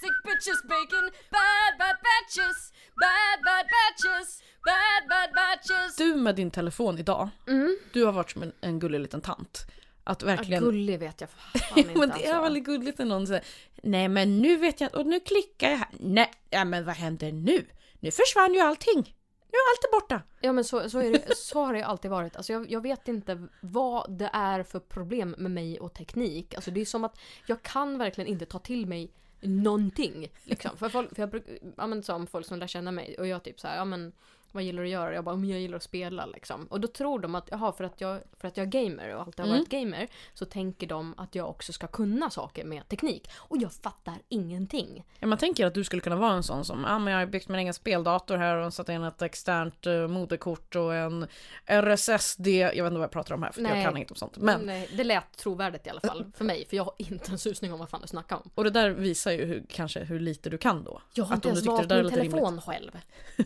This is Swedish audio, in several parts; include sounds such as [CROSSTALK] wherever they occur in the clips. sandwiches, bacon, bad bad batches, bad bad batches, bad bad batches. Du med din telefon idag, Mm. du har varit som en, en gullig liten tant. Att verkligen... Ja, gullig vet jag fan [LAUGHS] Ja, inte men det är alltså. väldigt gulligt när någon säger Nej men nu vet jag och nu klickar jag här. Nej ja, men vad händer nu? Nu försvann ju allting. Nu är allt borta. Ja men så, så, är det, så har det ju alltid varit. Alltså jag, jag vet inte vad det är för problem med mig och teknik. Alltså det är som att jag kan verkligen inte ta till mig någonting. Liksom. För, folk, för jag brukar, ja men som folk som lär känna mig och jag typ så här, ja men vad gillar du att göra? Jag bara, men jag gillar att spela liksom. Och då tror de att, jaha för att jag, för att jag är gamer och alltid har varit gamer så tänker de att jag också ska kunna saker med teknik. Och jag fattar ingenting. Ja, man tänker att du skulle kunna vara en sån som ah, men jag har byggt min egen speldator här och satt in ett externt eh, moderkort och en RSSD. Jag vet inte vad jag pratar om här för jag Nej. kan inget om sånt. Men, Nej, det lät trovärdigt i alla fall för mig för jag har inte en susning om vad fan du snackar om. och det där visar ju hur, kanske hur lite du kan då. Jag har Att inte om ens du tyckte valt det där min lät rimligt. telefon själv.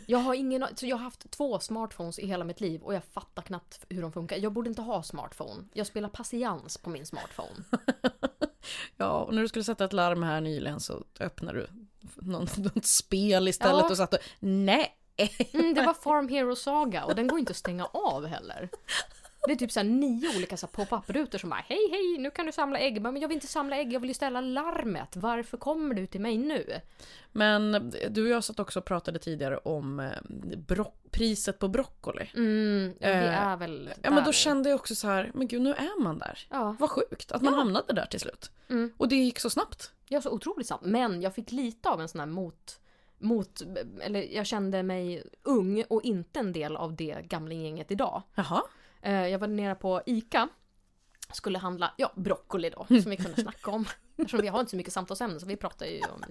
Jag har, ingen, så jag har haft två smartphones i hela mitt liv och jag fattar knappt hur de funkar. Jag borde inte ha smartphone. Jag spelar patiens på min smartphone. Ja, och när du skulle sätta ett larm här nyligen så öppnade du någon, [LAUGHS] något spel istället Ja. och satt och nej. Mm, det var Farm Hero Saga och den går inte att stänga av heller. Det är typ så här nio olika så här pop-up-rutor som bara hej hej nu kan du samla ägg. Men jag vill inte samla ägg, jag vill ju ställa larmet. Varför kommer du till mig nu? Men du och jag satt också och pratade tidigare om eh, bro- priset på broccoli. Mm, det Eh, är väl Ja där men då nu. kände jag också så här, men gud nu är man där. ja. Vad sjukt att man hamnade där till slut. Mm. Och det gick så snabbt. Jag så otroligt snabbt. Men jag fick lite av en sån här mot... mot eller jag kände mig ung och inte en del av det gamlinggänget idag. Jaha. Eh, jag var nere på ICA. Skulle handla, ja, broccoli då, som vi kunde snacka om. Eftersom vi har inte så mycket samtalsämnen så vi pratar ju om,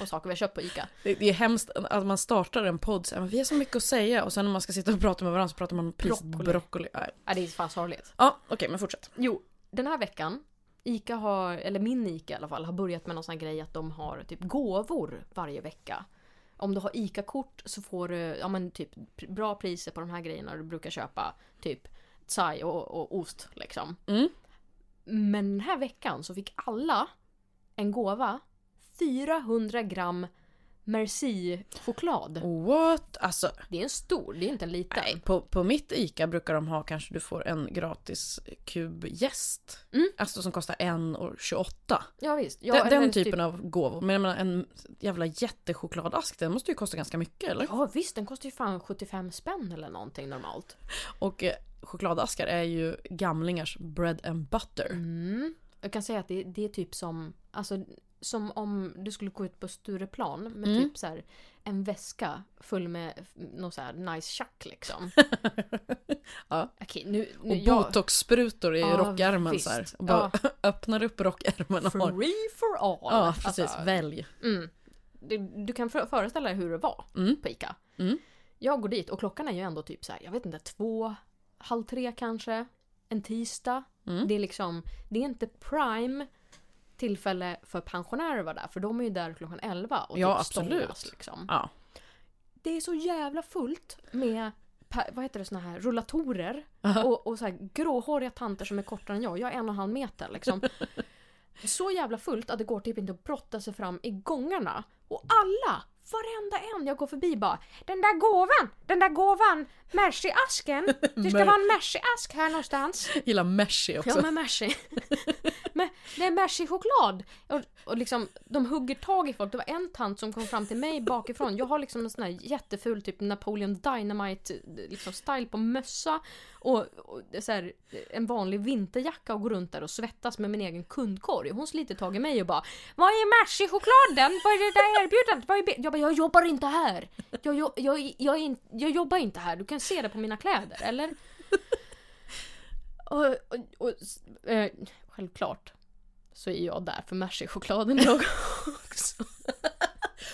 om saker vi har köpt på ICA. Det, det är hemskt att man startar en podd så här, men vi har så mycket att säga och sen när man ska sitta och prata med varandra så pratar man om priset på Broccoli. broccoli. Nej. Ja, Äh, det är fan sorgligt. Ja okej men fortsätt. Jo, den här veckan, ICA har, eller min ICA i alla fall, har börjat med någon sån här grej att de har typ gåvor varje vecka. Om du har ICA-kort så får du ja, men typ pr- bra priser på de här grejerna du brukar köpa. Typ thai och, och ost liksom. Mm. Men den här veckan så fick alla en gåva. 400 gram Merci-choklad. What? Alltså Det är en stor, det är inte en liten. Oh. Nej, på, på mitt ICA brukar de ha kanske du får en gratis kub gäst. Mm. Alltså som kostar 1,28. Ja, visst. Ja, Den, eller typ den typen av gåvor. Men jag menar en jävla jättechokladask den måste ju kosta ganska mycket eller? Ja visst, den kostar ju fan 75 spänn eller någonting normalt. Och eh, chokladaskar är ju gamlingars bread and butter. Mm. Jag kan säga att det, det är typ som, alltså, som om du skulle gå ut på Stureplan med Mm. typ så här, en väska full med f- någon så här nice tjack liksom. [LAUGHS] Ja. Okej, nu... nu Och botoxsprutor i Ja, rockärmen visst. så här. Och bara [LAUGHS] öppnar upp rockärmen och har... Free for all! Ja precis, [LAUGHS] Alltså, välj. mm. du, du kan för, föreställa dig hur det var Mm. på ICA. Mm. Jag går dit och klockan är ju ändå typ så här, jag vet inte, två, halv tre kanske. En tisdag. Mm. Det är liksom, det är inte prime tillfälle för pensionärer att vara där. För de är ju där klockan 11 och Ja, typ stångas, absolut. Liksom. Ja. Det är så jävla fullt med pa- vad heter det, såna här rullatorer Aha. [LAUGHS] och, och så här gråhåriga tanter som är kortare än jag. Jag är en och en halv meter liksom. Så jävla fullt att det går typ inte att brotta sig fram i gångarna. Och alla, varenda en jag går förbi bara Den där gåvan, den där gåvan, Mercy-asken. Det ska Mer- vara en Mercy-ask här någonstans. Gillar meshi också. Ja men Mercy. [LAUGHS] men, det är Mercy-choklad! Och, och liksom, de hugger tag i folk. Det var en tant som kom fram till mig bakifrån. Jag har liksom en sån här jätteful typ Napoleon Dynamite liksom style på mössa och, och det är så här, en vanlig vinterjacka och går runt där och svettas med min egen kundkorg. Hon sliter tag i mig och bara Vad är Mercy-chokladen? Vad är det där erbjudandet? Vad är be-" jag bara, jag jobbar inte här! Jag, jag, jag, jag, är in, jag jobbar inte här, du kan se det på mina kläder, eller? Och, och, och, s- eh, självklart så är jag där för Mercy-chokladen jag också. [LAUGHS]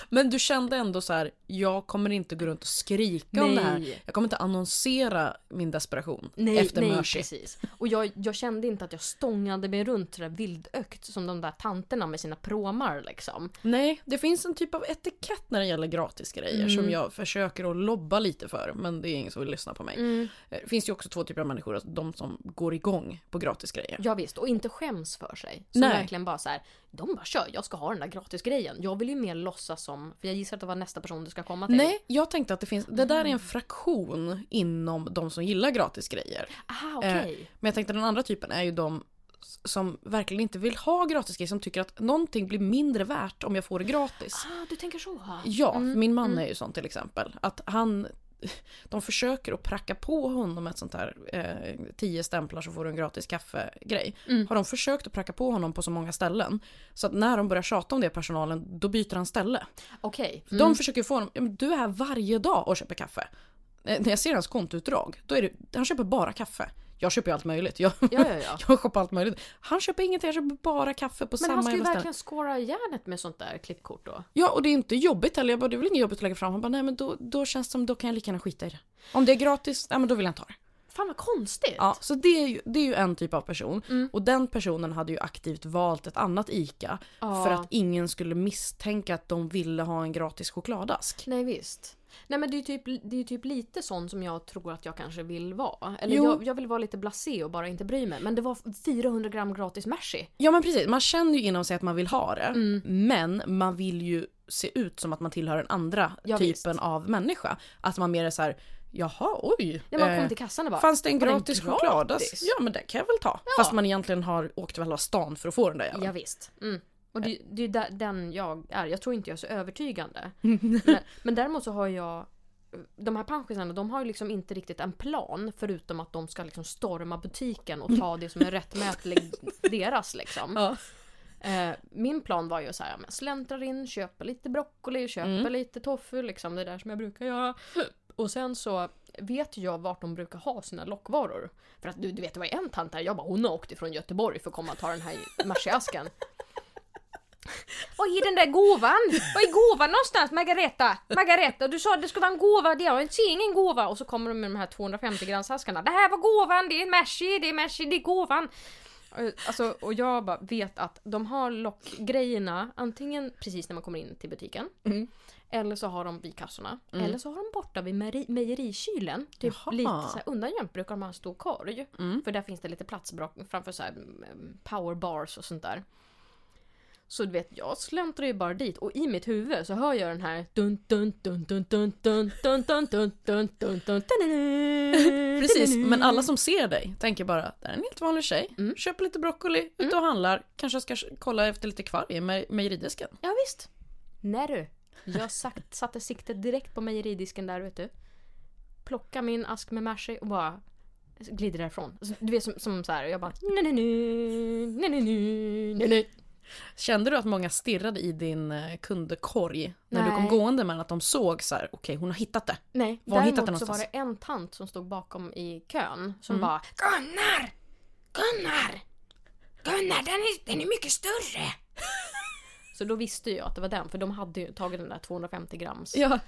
Men du kände ändå så här, jag kommer inte gå runt och skrika om det här. Nej. Jag kommer inte annonsera min desperation [LAUGHS] Nej, efter nej Mercy. precis. Och jag, jag kände inte att jag stångade mig runt sådär vildökt som de där tanterna med sina promar liksom. Nej, det finns en typ av etikett när det gäller gratisgrejer som Mm. jag försöker att lobba lite för. Men det är ingen som vill lyssna på mig. Mm. Eh, Det finns ju också två typer av människor, alltså de som går igång på gratisgrejer. Ja, visst, och inte skäms för sig. Som Nej. verkligen bara så här, de bara kör, jag ska ha den där gratisgrejen. Jag vill ju mer låtsas som, för jag gissar att det Mm. var nästa person du ska komma till. Nej, jag tänkte att det finns, det där är en fraktion inom de som gillar gratisgrejer. Ah, okej. Men jag tänkte den andra typen är ju de s- som verkligen inte vill ha gratisgrejer, som tycker att någonting blir mindre värt om jag får det gratis. Ah, du tänker så. Mm, Ja, min man är ju sån till exempel. Att han, [LAUGHS] de försöker att pracka på honom ett sånt här eh, tio stämplar så får du en gratis kaffe-grej. Har de försökt att pracka på honom på så många ställen. Så att när de börjar tjata om det personalen, då byter han ställe. Okej. Mm. De försöker få honom, "Ja, men du är här varje dag och köper kaffe. Eh, När jag ser hans kontoutdrag, då är det, han köper bara kaffe. Jag köper ju allt möjligt. Jag, Ja, [LAUGHS] ja, ja. jag shoppar allt möjligt. Han köper ingenting, han köper bara kaffe på Men samma han ska ju jävla ställe. verkligen skåra järnet med sånt där klippkort då. Ja, och det är inte jobbigt heller. Jag bara, det är väl inget jobbigt att lägga fram. Han bara, nej men då, då känns det som, då kan jag lika gärna skita i det. Om det är gratis, nej men då vill jag inte ha det. Fan vad konstigt. Ja, så det är, ju, det är ju en typ av person. Och den personen hade ju aktivt valt ett annat ICA Ja. för att ingen skulle misstänka att de ville ha en gratis chokladask. Nej visst. Nej men det är ju typ, det är ju typ lite sån som jag tror att jag kanske vill vara. Eller Jo. jag, jag vill vara lite blasé och bara inte bry mig. Men det var 400 gram gratis Mercy. Ja men precis, man känner ju inom sig att man vill ha det. Men man vill ju se ut som att man tillhör den andra Ja, typen visst. av människa. Att man mer är så här, jaha oj. När man kom eh, till kassan och bara Fanns det en var den gratis gratis? chokladask? Alltså, Ja men den kan jag väl ta. Fast man egentligen har åkt över hela stan för att få den där jäveln. Ja, visst. Mm. Och det, det är där, den jag är. Jag tror inte jag är [LAUGHS] så övertygande. men, men däremot så har jag de här panschisarna de har ju liksom inte riktigt en plan förutom att de ska liksom storma butiken och ta det som [LAUGHS] är rättmätligt deras liksom. Ja. Eh, min plan var ju så här, ja, men jag släntrar in, köper lite broccoli, köper lite tofu, liksom det där som jag brukar göra. Och sen så vet jag vart de brukar ha sina lockvaror. För att du, du vet, det var en tant här, jag bara hon har åkt ifrån Göteborg för att komma och ta den här [LAUGHS] Merceasken. Och i den där gåvan! Var är gåvan någonstans Margareta? Margareta, du sa att det skulle vara en gåva, det har jag ser ingen gåva. Och så kommer de med de här 250 gramsaskarna. Det här var gåvan, det är Mercy, det är Mercy, det är gåvan. Eh, Alltså, och jag bara vet att de har lockgrejerna antingen precis när man kommer in till butiken. Mm. Eller så har de vid kassorna. Eller så har de borta vid mejeri- mejerikylen. Typ Jaha. Mm. lite så här undangömt brukar de ha en stor korg. För där finns det lite plats bra- framför så här mm, powerbars och sånt där. Så du vet, jag släntrar ju bara dit och i mitt huvud så hör jag den här dun dun dun dun dun dun dun dun dun dun dun dun Precis, men alla som ser dig tänker bara, det här är en helt vanlig tjej. Köper lite broccoli, ute och handlar. Kanske ska kolla efter lite kvarg i mej- mejeridisken. Ja visst. Nej du. Jag sagt, satte siktet direkt på mejeridisken där vet du. Plocka min ask med Mercy och bara glider därifrån. Så, Du vet som, som så här, jag bara nej nej nej nej nej nej nej nej. Kände du att många stirrade i din eh, kundkorg när du kom Nej. gående med att de såg så här, okej hon har hittat det. Nej, Var har hittat däremot den så var det någonstans? Mm. en tant som stod bakom i kön som bara Gunnar! Gunnar! Gunnar den är, den är [LAUGHS] mycket större! Så då visste jag att det var den för de hade ju tagit den där 250 grams. Ja.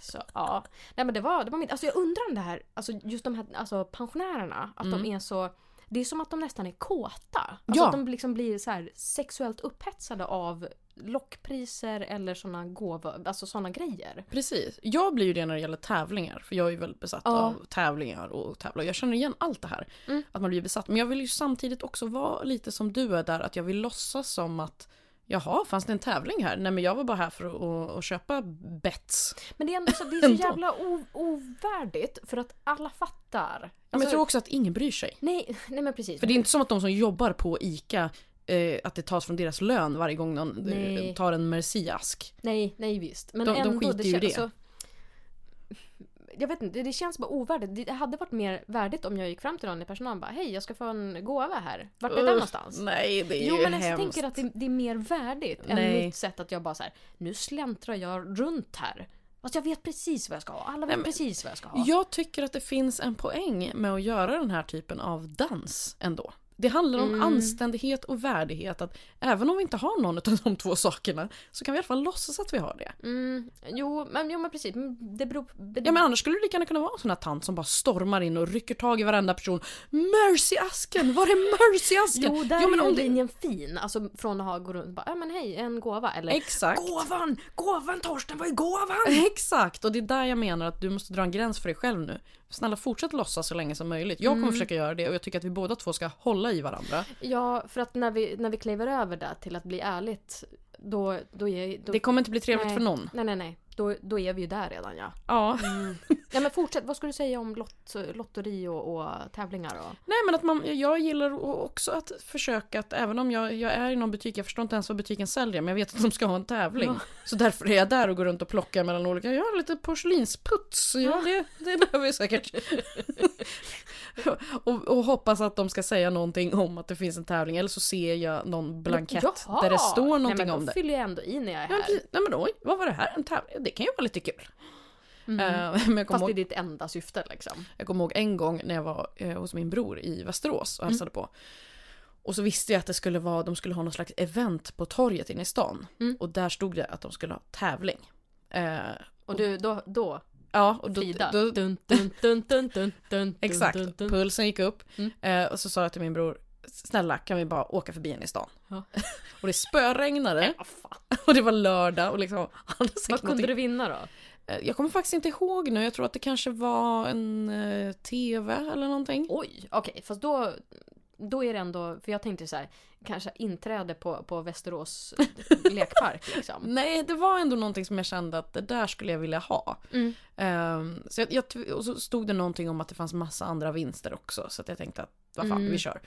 Så, ja. Nej men det var, det var mitt, alltså jag undrar om det här, alltså just de här alltså pensionärerna, att de är så det är som att de nästan är kåta. Alltså Mm. Ja. att de liksom blir så här sexuellt upphetsade av lockpriser eller såna gåvor, alltså såna grejer. Precis. Jag blir ju det när det gäller tävlingar. För jag är ju väldigt besatt Ja. Mm. av tävlingar och tävla. Jag känner igen allt det här. Att man blir besatt. Men jag vill ju samtidigt också vara lite som du är där. Att jag vill låtsas som att Jaha, fanns det en tävling här? Nej men jag var bara här för att, att, att köpa bets. Men det är ändå så, det är [LAUGHS] så Ändå. jävla o- ovärdigt för att alla fattar. Men Alltså, jag tror också att ingen bryr sig. nej, nej men precis. För det är inte som att de som jobbar på ICA, eh, att det tas från deras lön varje gång någon eh, Nej. tar en Merci-ask. Nej, nej visst. Men De- de ändå, skiter ju i kän- det. alltså- jag vet inte, det känns bara ovärdigt. Det hade varit mer värdigt om jag gick fram till någon i personalen och bara Hej, jag ska få en gåva här. Vart är den Usch, någonstans? Nej, det är Jo ju men alltså, jag hemskt. tänker att det, det är mer värdigt Nej. än mitt sätt att jag bara så här, nu släntrar jag runt här. Fast jag vet precis vad jag ska ha. Alla vet men- precis vad jag ska ha. Jag tycker att det finns en poäng med att göra den här typen av dans ändå. Det handlar om Mm. anständighet och värdighet. Att även om vi inte har någon av de två sakerna så kan vi i alla fall låtsas att vi har det. Mm, jo, men, jo men precis. Men Det beror på... Ja Mm. men annars skulle det lika gärna kunna vara en sån här tant som bara stormar in och rycker tag i varenda person. Mercy-asken! Var är mercy-asken? jo, där ja, men är om ju det- linjen fin. Alltså från att ha gå runt och bara, ja men hej, en gåva. Eller Exakt. gåvan! Gåvan Torsten, vad är gåvan? Exakt, och det är där jag menar att du måste dra en gräns för dig själv nu. Snälla fortsätt låtsas så länge som möjligt. Jag kommer Mm. försöka göra det och jag tycker att vi båda två ska hålla i varandra. [LAUGHS] Ja, för att när vi, när vi kliver över där till att bli ärligt, då, då är... Då, Det kommer inte bli trevligt nej. för någon. Nej, nej, nej. Då, då är vi ju där redan ja. Ja. Ja men fortsätt, vad ska du säga om lott, lotteri och, och tävlingar? Och... Nej men att man, jag gillar o- också att försöka att även om jag, jag är i någon butik, jag förstår inte ens vad butiken säljer men jag vet att de ska ha en tävling. Ja. Så därför är jag där och går runt och plockar mellan olika, jag har lite porslinsputs, ja, det, det behöver jag [LAUGHS] säkert. och, och hoppas att de ska säga någonting om att det finns en tävling eller så ser jag någon blankett Jaha! där det står någonting nej, men om då det. fyller jag ändå i när jag är Ja, men här. precis. Nej men oj, vad var det här? En tävling? Det kan ju vara lite kul. Mm. Eh, [LAUGHS] men jag kommer Fast det ihåg är ditt enda syfte liksom. jag kommer ihåg en gång när jag var eh, hos min bror i Västerås och Mm. hälsade på. Och så visste jag att det skulle vara, de skulle ha någon slags event på torget inne i stan. Mm. Och där stod det att de skulle ha tävling. Eh, Och du, då, då ja, och då, Frida. då, Dun, dun, dun, dun, dun, dun, exakt, Dun, dun, dun. pulsen gick upp. Mm. Eh, och så sa jag till min bror, snälla kan vi bara åka förbi inne i stan? Ja. [LAUGHS] och det spöregnade [LAUGHS] Ja, fan. och det var lördag och liksom, [LAUGHS] han hade Vad säkert kunde någonting du vinna då? Eh, Jag kommer faktiskt inte ihåg nu, jag tror att det kanske var en eh, TV eller någonting. Oj, okej, fast då, då är det ändå, för jag tänkte så här, kanske inträde på, på Västerås [LAUGHS] lekpark liksom. Nej, det var ändå någonting som jag kände att det där skulle jag vilja ha. Mm. Ehm, så jag, jag, tv- och så stod det någonting om att det fanns massa andra vinster också, så att jag tänkte att vad fan, Mm. vi kör.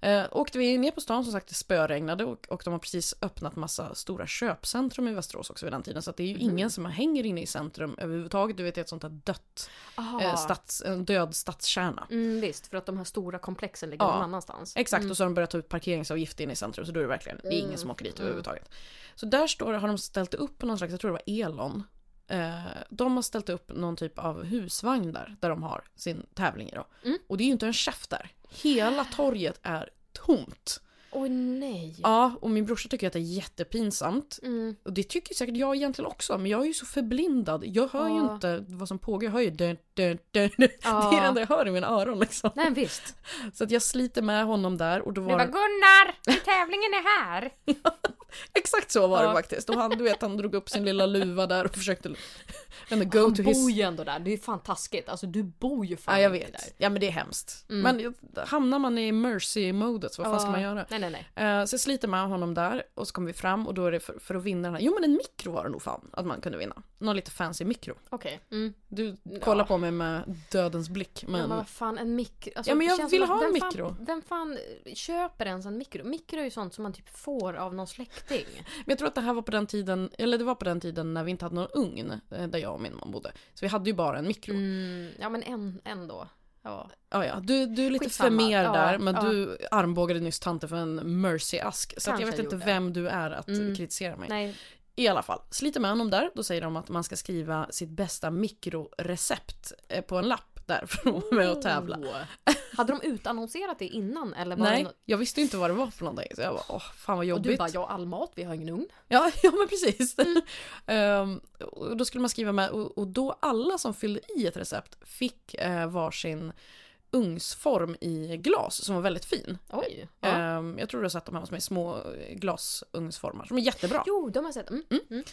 Eh, åkte vi ner på stan, som sagt, det spöregnade och, och de har precis öppnat massa stora köpcentrum i Västerås också vid den tiden. Så att det är ju ingen som hänger inne i centrum överhuvudtaget. Du vet, det är ett sånt där dött, Aha. eh, stads, en död stadskärna. Mm, visst, för att de här stora komplexen ligger Ja. någon annanstans. Mm. Exakt, och så har de börjat ta ut parkeringsavgift inne i centrum så då är det verkligen, det är ingen som åker dit Mm. överhuvudtaget. Så där står det, har de ställt upp någon slags, jag tror det var Elon. Eh, de har ställt upp någon typ av husvagn där, där de har sin tävling i då. Mm. Och det är ju inte en chef där. Hela torget är tomt. Åh nej. Ja, och min brorsa tycker att det är jättepinsamt. [LAUGHS] Mm. Och det tycker säkert jag egentligen också, men jag är ju så förblindad. Jag hör ju Ja. inte vad som pågår, jag hör ju dun, dun, dun, [LAUGHS] dun. Ja. Det är det enda jag hör i mina öron liksom. Nej visst. Så att jag sliter med honom där och då var Det var Gunnar! Tävlingen är här! Exakt så var det Ja. faktiskt. Och han, du vet, han drog upp sin lilla luva där och försökte... [LAUGHS] jag vet inte, go Han to bor his... ju ändå där, det är ju fan taskigt. Alltså du bor ju fan Ja, jag inte där. vet. Ja, men det är hemskt. Mm. Men jag- hamnar man i mercy-modet, så vad fan ska Ja. man göra? Nej nej nej. Eh, så jag sliter med honom där och så kommer vi fram och då är det för, för att vinna den här... Jo, men en mikro var det nog fan att man kunde vinna. Någon lite fancy mikro. Okej. Mm. Du kollar på mig med dödens blick, men... Ja, men vad fan en mikro. Alltså, Ja, men jag det känns som vill att ha en vem fan- mikro. Vem fan köper ens en mikro? Mikro är ju sånt som man typ får av någon släkting. Men jag tror att det här var på den tiden, eller det var på den tiden när vi inte hade någon ugn eh, där jag och min man bodde. Så vi hade ju bara en mikro. Mm, ja men en, en då. Ja. Ja, ja. Du, du är lite Skitsamma. för mer Ja, där, men ja. du armbågade nyss tanten för en mercy-ask. Så att jag Kanske vet inte gjorde. vem du är att Mm. kritisera mig. Nej. I alla fall, sliter med honom där. Då säger de att man ska skriva sitt bästa mikrorecept eh, på en lapp där för att vara med och tävla. Oh. Hade de utannonserat det innan eller var det Nej, nå- jag visste ju inte vad det var för någonting. Så jag bara, åh, fan vad Och jobbigt. du bara, Mm. jag har all mat, vi har ingen ugn. Ja, [LAUGHS] ja men precis. [LAUGHS] Ehm, och då skulle man skriva med, och, och då alla som fyllde i ett recept fick eh, varsin ugnsform i glas som var väldigt fin. Oj. Ja. Ehm, jag tror du har sett de här som är små eh, glasugnsformar som är jättebra. Jo, de har jag sett. Mm.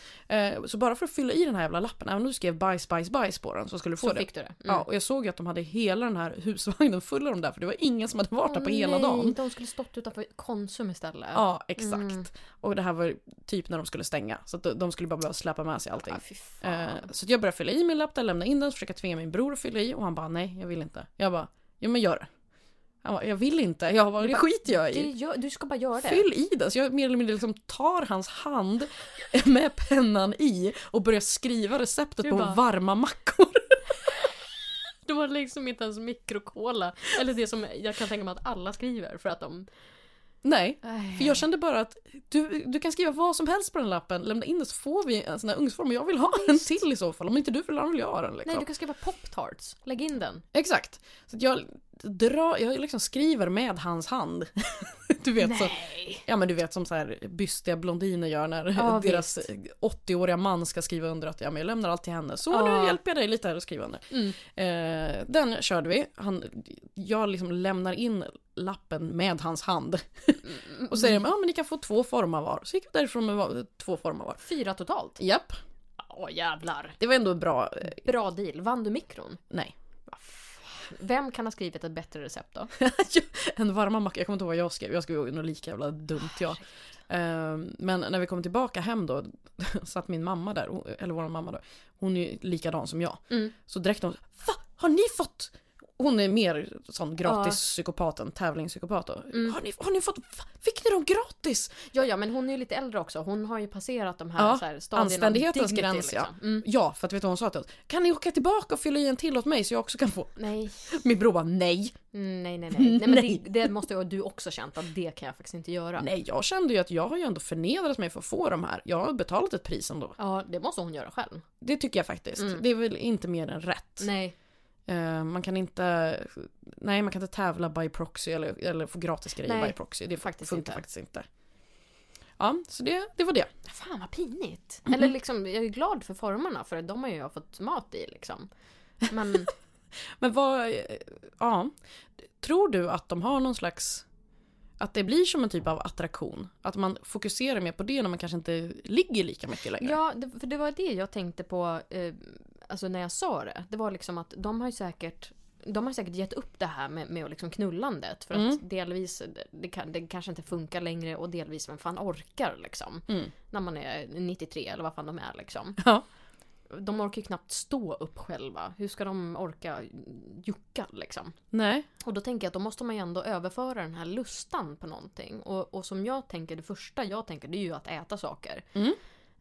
Eh, så bara för att fylla i den här jävla lappen, även om du skrev bajs, bajs, bajs på den så skulle du få Så det. fick du det. Mm. Ja, och jag såg ju att de hade hela den här husvagnen full av dem där för det var ingen som hade varit där Åh, på hela nej, dagen. De skulle stått utanför Konsum istället. Ja, exakt. Mm. Och det här var typ när de skulle stänga så att de- de skulle bara behöva släpa med sig allting. Ah, fy fan. Eh, så att jag började fylla i min lapp där, lämna in den, försöka tvinga min bror att fylla i och han bara nej, jag vill inte. Jag bara, jo men gör det. Han bara, jag vill inte. Jag bara, det skiter jag det i. gör, du ska bara göra det. Fyll i den. Så jag mer eller mindre liksom tar hans hand med pennan i och börjar skriva receptet Du på bara- varma mackor. Det var liksom inte ens mikrokola. Eller det som jag kan tänka mig att alla skriver för att de... Nej. För Nej. jag kände bara att du, du kan skriva vad som helst på den lappen, lämna in den så får vi en sån här ugnsform och jag vill ha en till i så fall. Om inte du vill ha den vill jag ha den liksom. du kan skriva pop-tarts. Lägg in den. Exakt. Så att jag dra, jag liksom skriver med hans hand. [LAUGHS] du vet så, Nej! ja men du vet som så här bystiga blondiner gör när Ja, [LAUGHS] deras 80-åriga man ska skriva under att ja men jag lämnar allt till henne. Så Ja. nu hjälper jag dig lite här att skriva under. Mm. Eh, den körde vi. Han, jag liksom lämnar in lappen med hans hand. [LAUGHS] och säger ja men ni kan få två formar var. Så gick vi därifrån med va- två formar var. Fyra totalt. Japp, Åh jävlar. det var ändå bra. eh, Bra deal. Vann du mikron? Nej. Vem kan ha skrivit ett bättre [LAUGHS] recept då? en varma macka, jag kommer inte ihåg vad jag skrev, jag skrev nog lika jävla dumt jag. Ehm, Men när vi kom tillbaka hem då [LAUGHS] satt min mamma där, hon- eller vår mamma då, hon är ju likadan som jag. Mm. Så direkt hon Va? Har ni fått? Hon är mer sån gratispsykopaten, tävlingspsykopat då. Mm. Har, ni, har ni fått? Va? Fick ni dem gratis? Ja, ja, men hon är ju lite äldre också. Hon har ju passerat de här, Ja, så här stadierna. av Anständighetens dignity, gräns ja. liksom. Mm. Ja, för att vet du vad hon sa till oss? Kan ni åka tillbaka och fylla i en till åt mig så jag också kan få? Nej, Min bror bara nej. Mm, nej, nej, [LAUGHS] nej. nej, men Nej. Det, det måste ju du också känt att det kan jag faktiskt inte göra. Nej, jag kände ju att jag har ju ändå förnedrat mig för att få de här. Jag har betalat ett pris ändå. Ja, det måste hon göra själv. Det tycker jag faktiskt. Mm. Det är väl inte mer än rätt. Nej. Eh, man kan inte Nej, man kan inte tävla by proxy eller, eller få gratis grejer Nej, by proxy. Det faktiskt funkar inte. faktiskt inte. Ja, så det, det var det. Fan vad pinigt. Mm-hmm. Eller liksom, jag är glad för formarna för att de har ju jag fått mat i liksom. Men Men vad, eh, ja. Tror du att de har någon slags, att det blir som en typ av attraktion? Att man fokuserar mer på det när man kanske inte ligger lika mycket längre? ja, det, för det var det jag tänkte på eh, alltså när jag sa det. Det var liksom att de har ju säkert de har säkert gett upp det här med, med liksom knullandet för Mm. att delvis det, kan, det kanske inte funkar längre och delvis vem fan orkar liksom. Mm. När man är 93 eller vad fan de är liksom. Ja. De orkar ju knappt stå upp själva. Hur ska de orka jucka liksom? Nej. Och då tänker jag att då måste man ju ändå överföra den här lustan på någonting. Och, och som jag tänker, det första jag tänker det är ju att äta saker. Mm.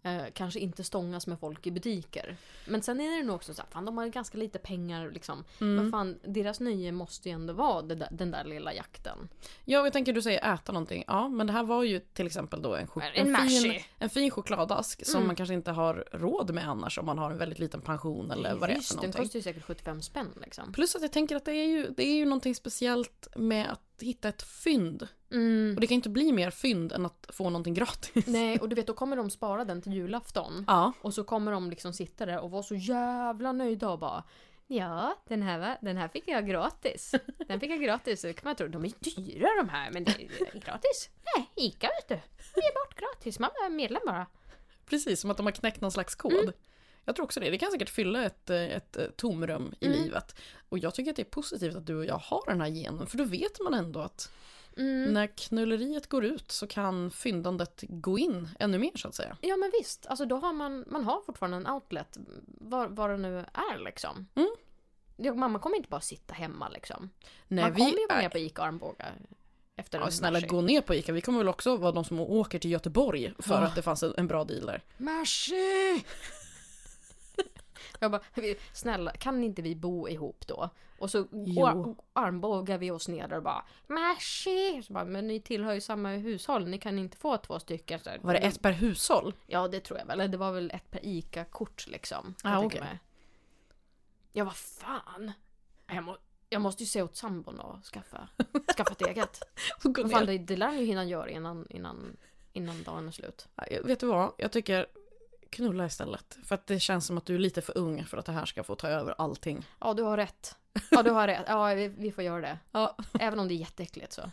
Eh, kanske inte stångas med folk i butiker. Men sen är det nog också så här, fan de har ju ganska lite pengar liksom. Mm. Vad fan, deras nöje måste ju ändå vara det där, den där lilla jakten. Ja, jag tänker du säger äta någonting. Ja, men det här var ju till exempel då en, chok- En fin, mashi. en fin chokladask som Mm. man kanske inte har råd med annars om man har en väldigt liten pension eller vad det är för den någonting. kostar ju säkert 75 spänn liksom. Plus att jag tänker att det är, ju, det är ju någonting speciellt med att hitta ett fynd. Mm. Och det kan ju inte bli mer fynd än att få någonting gratis. Nej, och du vet då kommer de spara den till julafton. [LAUGHS] Ja, Och så kommer de liksom sitta där och vara så jävla nöjda och bara Ja, den här, va- den här fick jag gratis. Den fick jag gratis. Så kan man tro, de är dyra de här, men det är gratis. Nej, ICA vet du. Det är bort gratis, man är medlem bara. precis. Som att de har knäckt någon slags kod. Mm. Jag tror också det. Det kan säkert fylla ett, eh, ett eh, tomrum i Mm. livet. Och jag tycker att det är positivt att du och jag har den här genen. För då vet man ändå att Mm. när knulleriet går ut så kan fyndandet gå in ännu mer så att säga. Ja men visst, alltså då har man, man har fortfarande en outlet, var, var det nu är liksom. Mm. Jag och mamma kommer inte bara sitta hemma liksom. Nej, man kommer ju vara är- med på ICA Arboga. Efter Ja, en typ. snälla Mashi. gå ner på ICA, vi kommer väl också vara de som åker till Göteborg för Ja. att det fanns en, en bra deal där. Mashi! [LAUGHS] Jag bara, vi- snälla kan inte vi bo ihop då? Och så Jo. ar- armbågar vi oss ner och bara Mashi! Så bara, men ni tillhör ju samma hushåll, ni kan inte få två stycken. Så här, mm. Var det ett per hushåll? Ja det tror jag väl, Eller det var väl ett per ICA-kort liksom. Ah, Jag tänker okej. mig. Ja vad fan! Jag, må, jag måste ju se åt sambon och skaffa, skaffa ett [LAUGHS] eget. Och gå Vad fan, ner. det, det lär han ju hinna göra innan, innan, innan dagen är slut. Ja, Vet du vad, jag tycker knulla istället. För att det känns som att du är lite för ung för att det här ska få ta över allting. Ja, du har rätt. Ja, du har rätt. Ja, vi, vi får göra det. Ja. Även om det är jätteäckligt så.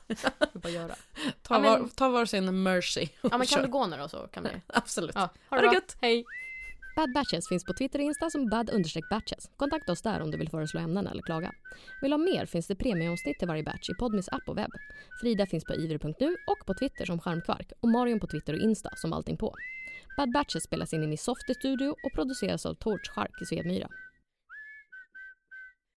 Vi [LAUGHS] får göra. Ta, Ja, men- var, ta var sin mercy. Ja, men Kör. kan du gå nu då så [LAUGHS] kan vi. Absolut. Ja, Ha det bra. gött. Hej. Bad Batches finns på Twitter och Insta som bad-batches. Kontakta oss där om du vill föreslå ämnen eller klaga. Vill du ha mer finns det premieavsnitt i varje batch i Podmis app och webb. Frida finns på ivr.nu och på Twitter som Charmkvark och Marion på Twitter och Insta som allting på. Bad Batches spelas in i Miss Softy Studio och produceras av Torch Shark i Svedmyra.